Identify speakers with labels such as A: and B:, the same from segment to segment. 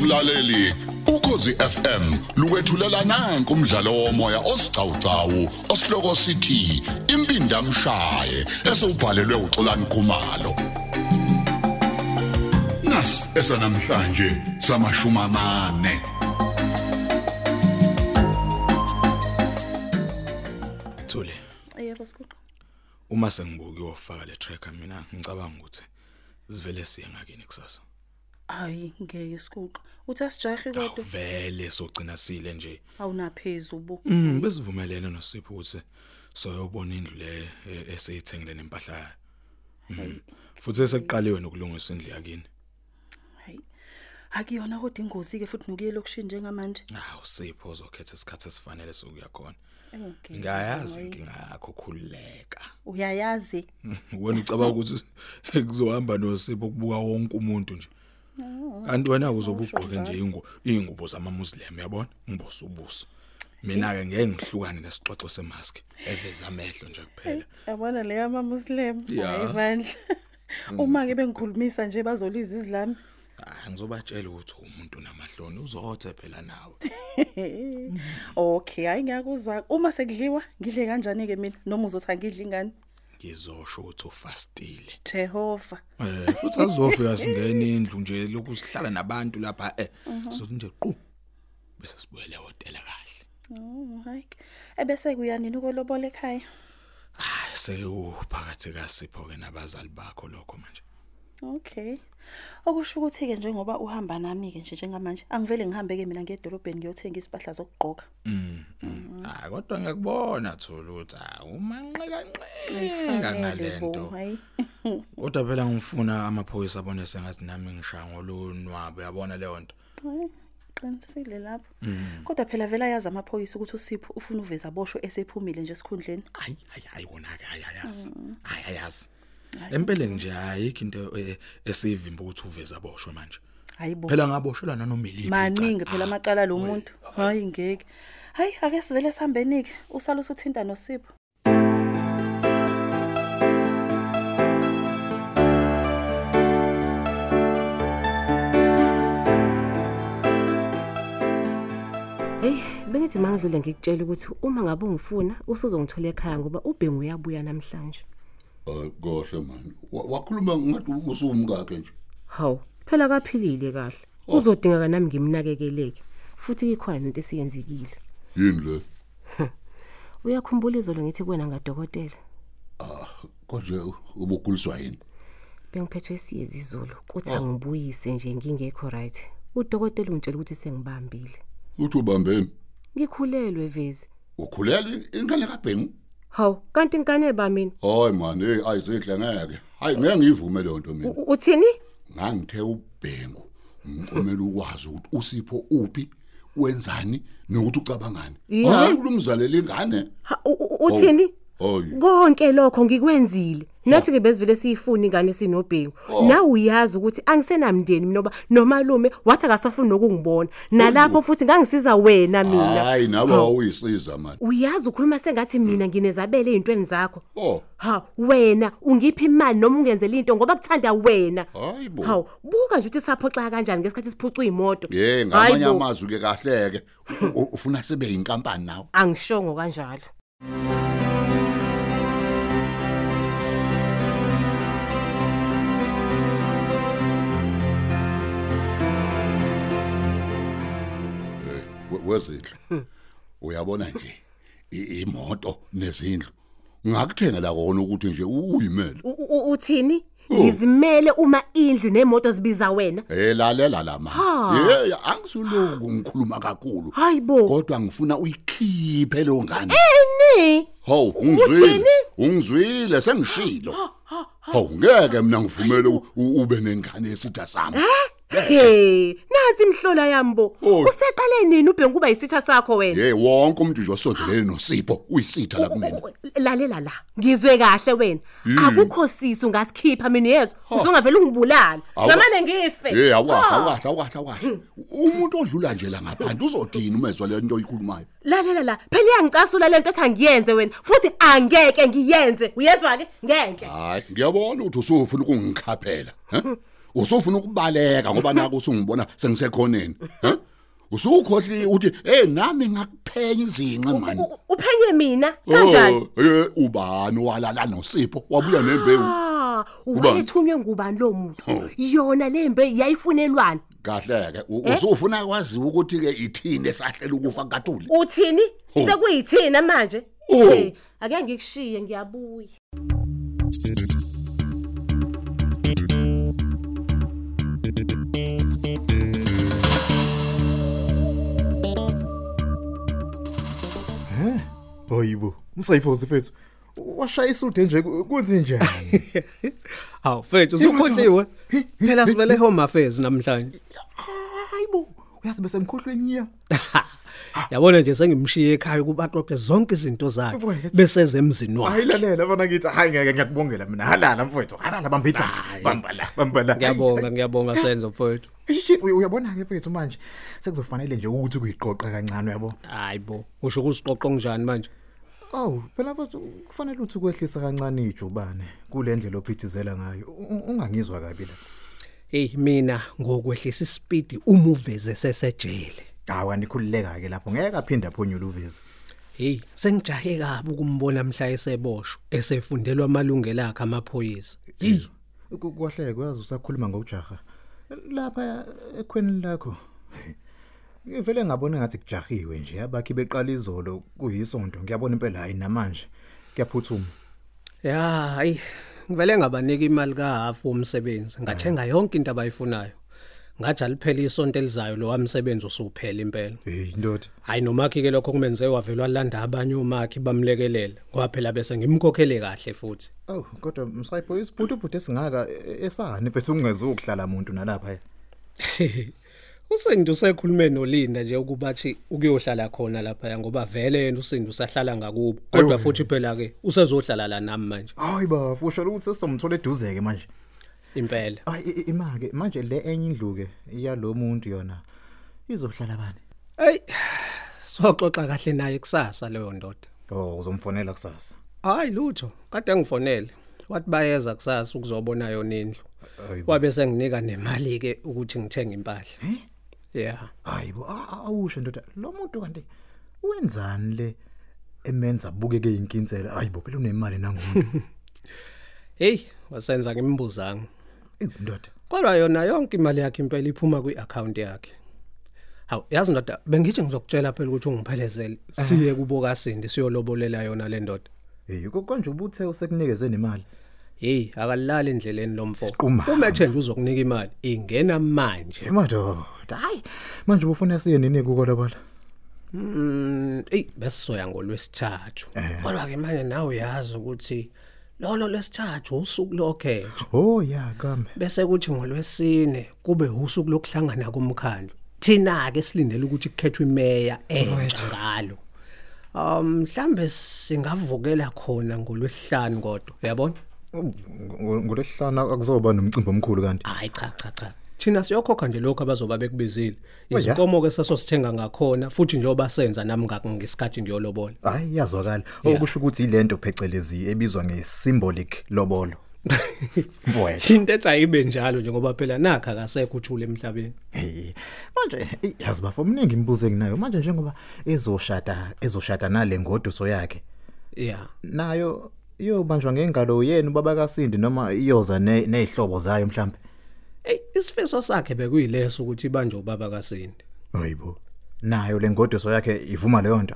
A: mlaleli ukhosi FM lukwethulela nanku umdlalo womoya osiqhawqhawo osihloko sithi impindi amshaye esubhalelwe uXolani Khumalo nas esanamhlanje samashuma amane
B: Thule
C: Yebo sikuqo.
B: uma sengibuki ofaka le tracker mina ngicabanga ukuthi sivele siye ngakini kusasa
C: Hayi ngeke sikuqo. Uthi asijahe kodwa
B: vele sogcina sile nje
C: Oh. awunaphezulu.
B: mm besivumelene noSipho ukuthi soyobona indlu le e- eseyithengile nempahla yayo Mhm. futhi sekuqaliwe nokulungisa indlu yakini
C: Hayi. Akuyona kodwa ingozi ke futhi nokuye lokushini njengamanje.
B: hawu Sipho uzokhetha isikhathi esifanele sokuya khona
C: Oh, Okay.
B: ngayazi inkinga yakho khululeka
C: Mm. Uyayazi.
B: wena ucabanga ukuthi kuzohamba noSipho kubuka wonke umuntu nje kanti wena uzobe ugqoke nje ingubo ingubo zamaMuslim yabona ngibosa ubuso mina ke ngeke ngihlukane nesixoxo semask eveza amehlo nje kuphela
C: Yabona le yama Muslim
B: Ya.
C: hayi bandla. Uma ke bengikhulumisa nje bazolizwa izilami.
B: ah ngizobatshela ukuthi umuntu namahloni uzothe phela nawe
C: Okay, hayi ngiyakuzwa. Uma sekudliwa ngidle kanjani ke mina noma uzothi angidli ngani?
B: ngizosho ukuthi ufastile
C: Jehova.
B: eh futhi azofika singena indlu nje lokusihlala nabantu lapha eh sothi nje qhu bese sibuyele ehotela kahle
C: Oh, hayi. Ebese kuyani ukolobola ekhaya?
B: Ah, sewuphakathi kaSipho ke nabazali bakho lokho manje.
C: Okay. Okusho ukuthi ke njengoba uhamba nami ke nje njengamanje, angivele ngihambe ke mina ngedolobheni ngiyothenga isiphahla zokugqoka.
B: Mhm. Ah, kodwa ngiyakubona Thulu ukuthi ah umanxeka nxeka
C: Kufanele bo,
B: ngalento.
C: hayi.
B: Kodwa phela ngifuna amaphoyisa abone sengathi nami ngishaya ngolunwabo yabona leyo nto.
C: Hayi, Qinisile lapho.
B: Mm.
C: Kodwa phela vela yazi amaphoyisa ukuthi uSipho ufuna uveza boshwe esephumile nje esikhundleni.
B: Hayi hayi hayi wona ke hayi ayazi.
C: Mm.
B: Hayi ayazi. Empeleni nje ayikho into eh, esivimba ukuthi uveza boshwe manje.
C: Hayi bo.
B: Phela ngaboshelwa nanoma iliphi. icala.
C: Maningi phela
B: Ah,
C: amacala lo muntu. Hayi ngeke. Hayi ake sivele sihambeni ke. Usala usuthinta noSipho.
D: Hey, bengithi mangidlule ngikutshela ukuthi uma ngabe ungifuna usuzongithola ekhaya ngoba ubhengu uyabuya namhlanje.
A: kohle man wakhuluma ngathi usumkakhe nje
D: Hawu, phela kaphilile kahle. Uzodingeka nami ngimnakekeleke. Futhi ikhona into esiyenzekile.
A: yini le
D: Uyakhumbula izolo ngithi kuwena ngadokotela.
A: ah konje ubukuliswa yini
D: Bengiphethwe isiyezi izolo, kuthi angibuyise nje ngingekho right. Udokotela ungitshela ukuthi sengibambile.
A: uthi ubambeni
D: Ngikhulelwe vezi.
A: ukhulele ingane kaBhengu
D: Hawu, kanti inkane ba mina.
A: hayi man hey ayizidla ngeke hayi ngeke ngivume le nto mina
D: U- Uthini?
A: ngangithe ubhengu ngicomela ukwazi ukuthi usipho uphi wenzani nokuthi ucabangani
D: Ya.
A: hayi kulumzalela ingane
D: Ha, u- u- Uthini?
A: Oh. hayi
D: konke lokho ngikwenzile nathi ke besivele siyifuna ingane sinobhengu nawe uyazi ukuthi angisenamndeni mina oba nomalume wathi akasafuni nokungibona nalapho futhi ngangisiza wena mina
A: hayi nawe wawuyisiza man
D: uyazi ukhuluma sengathi mina nginezabele ey'ntweni zakho
A: oh
D: ha wena ungiphi imali noma ungenzela into ngoba kuthanda wena
A: hayi bo
D: hawu buka nje ukuthi saphoxeka kanjani ngesikhathi siphucwa iy'moto
A: ye
D: Hayi
A: ngamanye
D: bo,
A: amazwi ke kahleke u- u- ufuna sibe yinkampani nawe
D: angishongo kanjalo
A: We- wezindlu uyabona nje i- imoto nezindlu ngakuthengela kona ukuthi nje uyimele
D: U- u- uthini ngizimele uma indlu nemoto zibiza wena
A: Eh lalela la mama.
D: Ha.
A: Yey angisulungu ngikhuluma kakhulu.
D: hayi bo
A: Kodwa ngifuna uyikhiphe lo ngane.
D: Eh, eni
A: Haw, ungizwile. Ungizwile sengishilo. Haw, ngeke mina ngivumele u- u- ube nengane esitha sami.
D: Hey, nathi imhlola yambo.
A: Oh.
D: Useqale nini ubhengu kuba isitha sakho wena?
A: Hey wonke umuntu nje osondelene noSipho uyisitha la kumina.
D: U- u- Lalela la. Ngizwe kahle wena. Akukho sisi ungasikhipha mina yezwa. Uzongavela ungibulala.
A: Awu.
D: Ngamane ngife.
A: Hey awahla
D: Ah,
A: awahla awahla awahla. Umuntu odlula nje la ngaphandle uzodini umezwa le nto oyikhulumayo.
D: Lalela la. Phela iyangicasula lento ethi angiyenze wena. Futhi angeke ngiyenze. Uyezwa ke? Ngeke.
A: Ah, Hayi ngiyabona ukuthi usufuna ukungikhaphela. he? usufuna ukubaleka ngoba naku usungibona sengisekhoneni ha usukhohli uthi hey nami ngakuphenya izinqa manje
E: U- uphenye mina kanjani
A: Oh, eh, ubani walala nosipho wabuya nembewu
E: ah
A: Ubani?
E: wayethunywe ngubani lo
A: Oh.
E: muntu yona le mbe yayifunelwani
A: kahle ke
E: Eh?
A: u- usufuna kwaziwa ukuthi ke ithini esahlela ukufa katuli
E: uthini
A: Oh.
E: sekuyithina manje
A: Oh.
E: Eh, ake ngikushiye ngiyabuya
B: Ah,
F: Hoyibo, msayiphosi fethu. Washaya isude nje ku- kwenze njani?
G: Hawu mfethu usukhohliwe. Phela sivele home affairs namhlanje.
F: Hayibo, uyazi bese ngikhohlwe nyiya. Ah.
G: Yabona nje sengimshiye ekhaya kubaxoxe zonke izinto zakhe
F: Mfowethu.
G: bese zemzini wakhe.
F: Hayi lalela bana kithi, hayi ngeke ngiyakubongela mina. Halala mfowethu, halala bamba ithanga. Bamba la, bamba la.
G: Ngiyabonga ngiyabonga senzo mfowethu.
F: Ishi, uy- Uyabona ke mfowethu manje sekuzofanele nje ukuthi kuyiqoqa kancane uyabo.
G: Hayibo, usho ukusiqoqa njani manje?
F: Oh, phela mfowethu kufanele uthi kwehlisa kancane ijubane kulendlela ophithizela ngayo. U- u- Ungangizwa kabi la.
G: Hey mina ngokwehlisa ispeed uma uveze sesejele.
F: Hawa nikhululeka ke lapho ngeke aphinda phonyula uvezi.
G: Hey sengijahe kabi ukumbona mhla eseboshwe esefundelwa amalungelo akhe amaphoyisa. Hey
F: kwahleke kwazi usakhuluma ngokujaha lapha ekhweni lakho ngivele ngabona ngathi kujahiwe nje abakhi beqala izolo kuyisonto ngiyabona impela hayi namanje kuyaphuthuma
G: ya hayi ngivele ngabanika imali kahafu womsebenzi ngathenga yonke into abayifunayo. Ngathi aliphele isonto elizayo lo wamsebenzi usuphela impela.
F: hey ndoda
G: hayi nomakhi ke lokho kumenze wavelwa landa abanye omakhi bamlekelela ngoba phela bese ngimkhokhele kahle futhi
F: oh kodwa msayipho isiphuthuphuthu esingaka e- esani mfethu ungezokuhlala muntu nalapha
G: usindu sekhulume nolinda nje ukuba thi ukuyohlala khona lapha ngoba vele yena usindu sahlala ngakubo kodwa futhi phela ke usezohlala la nami manje
F: hayi bafu usho ukuthi sesizomthola eduzeke manje
G: impela
F: hayi i- i- imake manje le enye indluke yalomuntu yona izohlala bani
G: hey soxoxa kahle naye kusasa leyo ndoda
F: oh uzomfonela kusasa
G: hayi lutho kade ngifonele wathi bayeza kusasa ukuzobona yona indlu
F: Hayi bo.
G: wabe senginika nemali ke ukuthi ngithenge impahla yeah
F: hayibo a- a- awusho ndoda lo muntu kanti wenzani le emenza abukeke inkinsela hayibo phela unemali nangumuntu
G: hey wasenza ngimbuzanga
F: Ewu, ndoda
G: kodwa yona yonke imali yakhe impela iphuma kwi-account yakhe hawu yazi ndoda bengithi ngizokutshela phela ukuthi ungiphelezele siye kubokasindi siyolobolela yona le ndoda
F: hey konje ubuthe usekunikeze nemali
G: heyi akalilali endleleni lo mfoko
F: Siquma.
G: umethe nje uzokunika imali ingena manje
F: emadoda hayi manje ubufuna siye nini kukolabala
G: Mm, eyi besizoya ngolwesithathu kodwa-ke manje nawe uyazi ukuthi lolo lwesithathu usuku lokhetho
F: oh ya kambe
G: bese kuthi ngolwesine kube usuku lokuhlangana komkhandlu thina-ke silindele ukuthi kukhethwe imeya entsha ngalo um mhlambe singavukela khona ngolwesihlanu kodwa uyabona
F: ngolesihlanu akuzoba nomcimbi omkhulu kanti
G: hayi cha cha cha thina siyokhokha nje lokhu abazoba bekubizile
F: Oh, ya.
G: izinkomo-ke sasosithenga ngakhona futhi njengoba senza nami ngak- ngesikhathi ngiyolobola
F: hayi yazwakala okusho ukuthi ilento phecelezi ebizwa ngesymbolic lobolo mfowethu
G: into ethi ayibe njalo nje ngoba phela nakho akasekho uthule emhlabeni
F: Hey, manje eh, yazi bafo mningi imibuzo enginayo manje njengoba ezoshada ezoshada nale ngoduso yakhe
G: ya
F: nayo yobanjwa ngengalo yenu baba kaSindi noma iyoza ne- nezihlobo zayo mhlambe
G: eyi isifiso sakhe bekuyileso ukuthi ibanje ubaba kasindi
F: hayibo nayo lengoduso yakhe ivuma leyo nto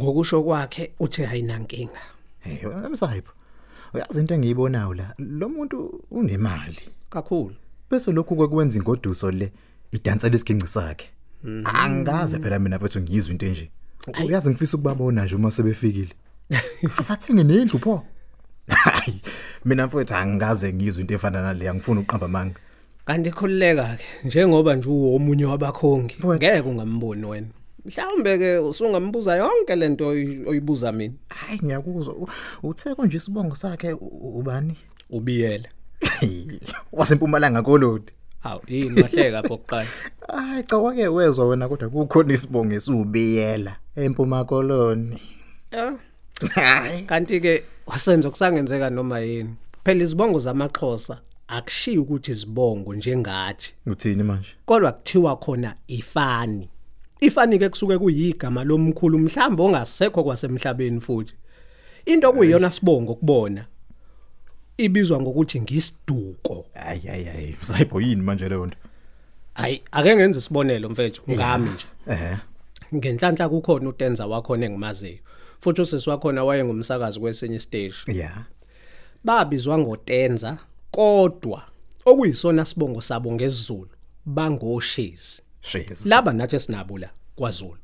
G: ngokusho kwakhe uthe ayinankinga
F: hey emsayipho uyazi into engiyibonayo la lo muntu unemali
G: kakhulu
F: bese lokhu kwekwenza ingoduso le idansela isigcinci sakhe angaze phela mina mfethu ngiyizwa into enje uyazi ngifisa ukubabona nje uma sebefikile asathenge nendlu pho Hayi, mina mfethu angaze ngizwe into efana nale angifuni uqamba manga
G: kanti khululeka ke njengoba nje uwomunye wabakhongi
F: Mfowethu.
G: ngeke ungamboni wena mhlawumbe ke usungambuza yonke lento oyi- oyibuza mina
F: hayi ngiyakuzwa U- uthe konje isibongo sakhe u- ubani
G: ubiyela
F: wasempumalanga kolodi
G: awu yini wahleka pho kuqala
F: hayi cha wake wezwa wena kodwa kukhona isibongo esiwubiyela empuma koloni
G: Ya,
F: hayi
G: kanti ke wasenza kusangenzeka noma yini phela izibongo zamaxhosa akushiyi ukuthi isibongo njengathi
F: uthini manje
G: kodwa kuthiwa khona ifani ifani ke kusuke kuyigama lomkhulu mhlamba ongasekho kwasemhlabeni futhi into kuyiyona sibongo kubona ibizwa ngokuthi ngisiduko
F: hayi hayi hayi msayipho yini manje leyo nto
G: hayi ake ngenze isibonelo mfethu ngami nje
F: ehe
G: ngenhlanhla kukhona utenza wakhona engimazeyo futhi usisi wakhona wayengumsakazi kwesinye isiteshi
F: ya
G: babizwa ngotenza kodwa okuyisona sibongo sabo ngesiZulu bangoshezi
F: shezi
G: laba nathi sinabo la kwaZulu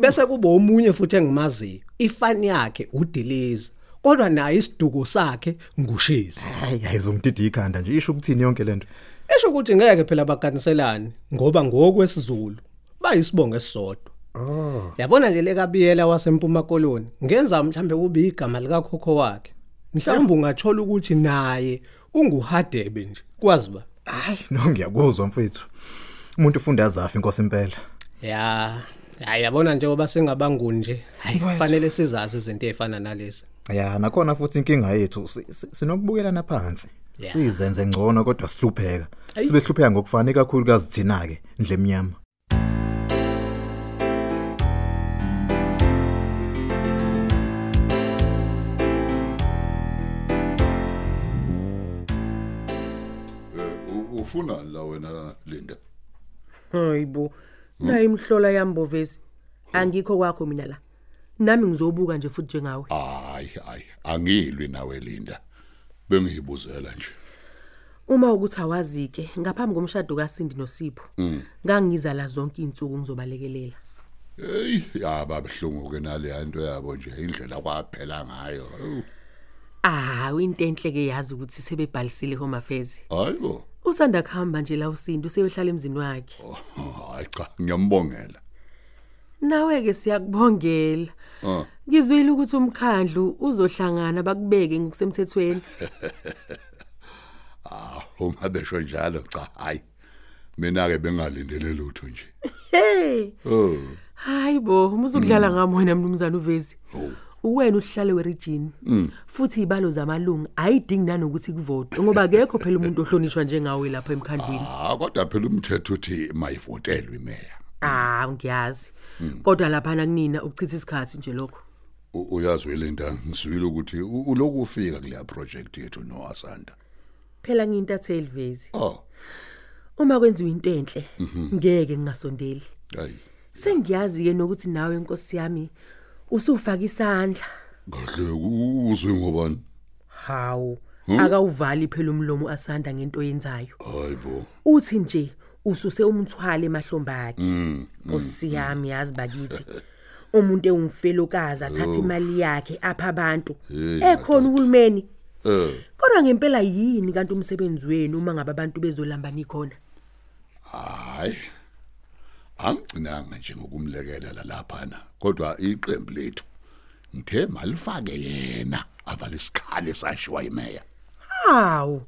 G: bese kube omunye futhi engimaziyo ifani yakhe udiliza kodwa naye isiduko sakhe ngushezi
F: hayi hayi zongididi ikhanda nje isho ukuthini yonke lento
G: esho ukuthi ngeke phela baganiselane ngoba ngokwesiZulu bayisibongo esisodwa
F: oh
G: yabona nje lekabiyela wasempuma koloni ngenza mhlambe kube igama likakhokho wakhe mhlawumbe ungathola ukuthi naye unguhadebe nje kwazi ba
F: hayi no ngiyakuzwa mfethu umuntu ufunda azafa inkosi impela
G: ya hayi yabona njengoba singabanguni nje hayi kufanele sizazi izinto ezifana nalezi
F: ya nakhona futhi inkinga yethu si- si- sinokubukelana phansi
G: Ya.
F: sizenze ngcono kodwa sihlupheka
G: Ayi.
F: sibe hlupheka ngokufana kakhulu kazithina ke ndle emnyama
A: ufuna la wena Linda
E: hayibo nayi imhlola yambovezi angikho kwakho mina la nami ngizobuka nje futhi njengawe
A: hayi hayi angilwi nawe Linda bengiyibuzela nje
E: uma ukuthi awazike ngaphambi komshado kaSindi noSipho ngangiza la zonke izinsuku ngizobalekelela
A: hey yaba behlungu ke nale nto yabo nje indlela kwaphela ngayo Ewu,
E: ah into enhle ke yazi ukuthi sebebhalisile home affairs
A: hayibo
E: usanda kuhamba nje la uSindi useyohlala emzini wakhe
A: Oh, hayi cha ngiyambongela
E: nawe ke siyakubongela
A: Ah.
E: ngizwile ukuthi umkhandlu uzohlangana bakubeke ngokusemthethweni
A: ah uma besho njalo cha hayi mina ke bengalindele lutho nje
E: hey
A: oh
E: hayibo umuzokudlala ngami wena mnumzane uvezi uwena uhlale werijini futhi izibalo zamalungu ayidingi nanokuthi kuvote ngoba akekho phela umuntu ohlonishwa njengawe lapha emkhandlwini
A: ah kodwa phela umthetho uthi mayivotelwe imeya
E: ah ngiyazi kodwa lapha nakunina ukuchitha isikhathi nje lokho
A: U- uyazi Linda ngizwile ukuthi u- uloku ufika kule project yethu noasanda
E: phela ngiyintatheli vezi
A: oh
E: uma kwenziwa into enhle ngeke ngingasondeli
A: hayi
E: sengiyazi ke nokuthi nawe inkosi yami usufaka isandla
A: kahle u- uzwe ngobani
E: hawu akawuvali phela umlomo asanda ngento yenzayo
A: hayibo
E: uthi nje ususe umthwalo emahlombe akhe nkosi yami yazi bakithi umuntu engumfelokazi athatha imali yakhe apha abantu ekhona uhulumeni
A: eh
E: kodwa ngempela yini kanti umsebenzi wenu uma ngabe abantu bezolambani khona
A: hayi angcinanga nje ngokumlekela lapha kodwa iqembu lethu ngithe malifake yena avala isikhali sashiwa imeya
E: hawu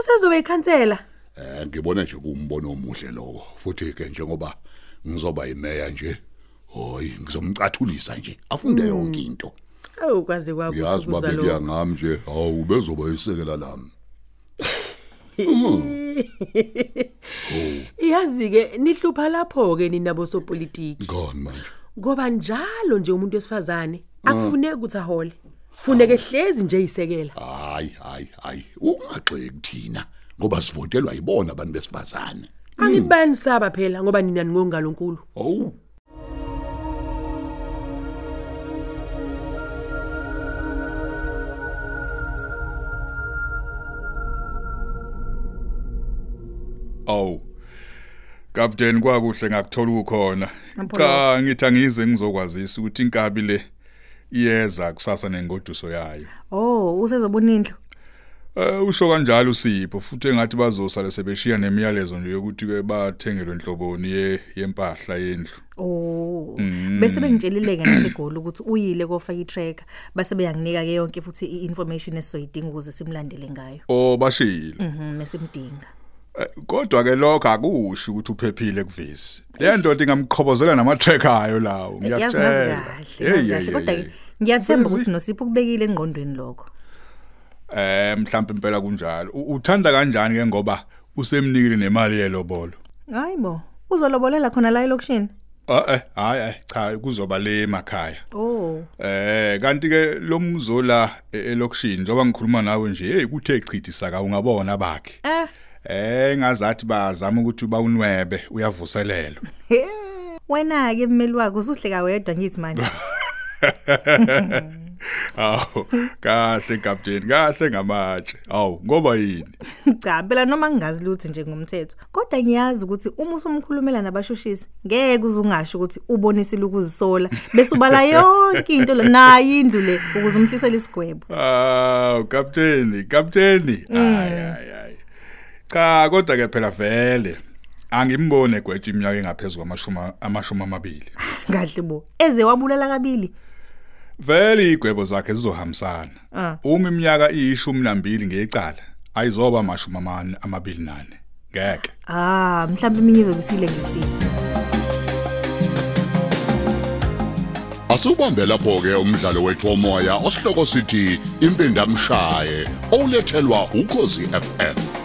E: usezobe ikhansela
A: Eh ngibona nje kumbono omuhle lowo futhi ke njengoba ngizoba imeya nje hoyi ngizomcathulisa nje afunde yonke into
E: awu kwaze kwakuthi
A: uyazi
E: ukuza lokho.
A: babekuya ngami nje hawu bezoba isekela lami
E: yazi-ke nihlupha lapho-ke ninabosopolitiki
A: ngani manje
E: ngoba njalo nje umuntu wesifazane
H: Mm.
E: akufuneki ukuthi ahole funeke hlezi nje yisekela
A: hayi hayi hayi ungagxeki thina ngoba sivotelwa yibona abantu besifazane
H: Mm.
E: angibanisaba phela ngoba nina ningongalonkulu
A: hawu
I: Aw. Captain Oh, kwakuhle ngakuthola ukukhona. Cha ngithi angize ngizokwazisa ukuthi inkabi le iyeza kusasa nengoduso yayo.
H: Oh, usezobona indlu.
I: Eh usho kanjalo uSipho futhi engathi bazosala sebeshiya nemiyalezo nje yokuthi ke bathengelwe inhloboni ye yempahla yendlu.
H: Oh.
E: Mm.
H: Bese bengitshelile ke nasegoli ukuthi uyile kofaka i-tracker. Base beyanginika ke yonke futhi i-information esizoyidinga ukuze simlandele ngayo.
I: Oh bashiyile.
H: Mhm, mesimdinga.
I: Eh, Kodwa ke lokho akusho ukuthi uphephile kuvisi. Le ndoda ingamqhobozela nama tracker ayo lawo
H: Yazi
I: ngiyakutshela.
H: kahle, yazi kahle kodwa ke ngiyathemba ukuthi nosipho kubekile engqondweni lokho.
I: eh mhlawumbe impela kunjalo U- uthanda kanjani ke ngoba usemnikile nemali yelobolo
H: hayi bo uzolobolela khona la elokishini
I: Ah, eh hayi eh, cha kuzoba le emakhaya
H: oh
I: Eh kanti ke lo mzola e- elokishini njoba ngikhuluma nawe nje hey kuthe echithisa ka ungabona bakhe
H: eh
I: Eh ngazathi bazama ukuthi bawunwebe uyavuselelwa
H: wena-ke mmeli wakhe usuhleka wedwa ngithi manje
I: Aw kahle captain kahle ngamatshe aw ngoba yini
H: cha phela noma ngingazi lutho nje ngomthetho kodwa ngiyazi ukuthi uma usumkhulumela nabashushisi ngeke uze ungasho ukuthi ubonisile ukuzisola bese ubala yonke into le nayo indlu le ukuze umhlisele isigwebo
I: Aw captain captain ayayayi Cha kodwa ke phela vele angimbone gwetshe iminyaka engaphezulu kwamashuma amashuma amabili
H: kahle bo eze wabulala kabili
I: Vele igwebo zakhe sizohamsana.
H: Ah.
I: Uma iminyaka iyishumi nambili ngecala, ayizoba amashumi amane amabili nane. Ngeke.
H: ah mhlawumbe iminye izobe isilengisile
A: Asubambe lapho ke umdlalo wethu womoya osihloko sithi impindamshaye olethelwa ukozi FM.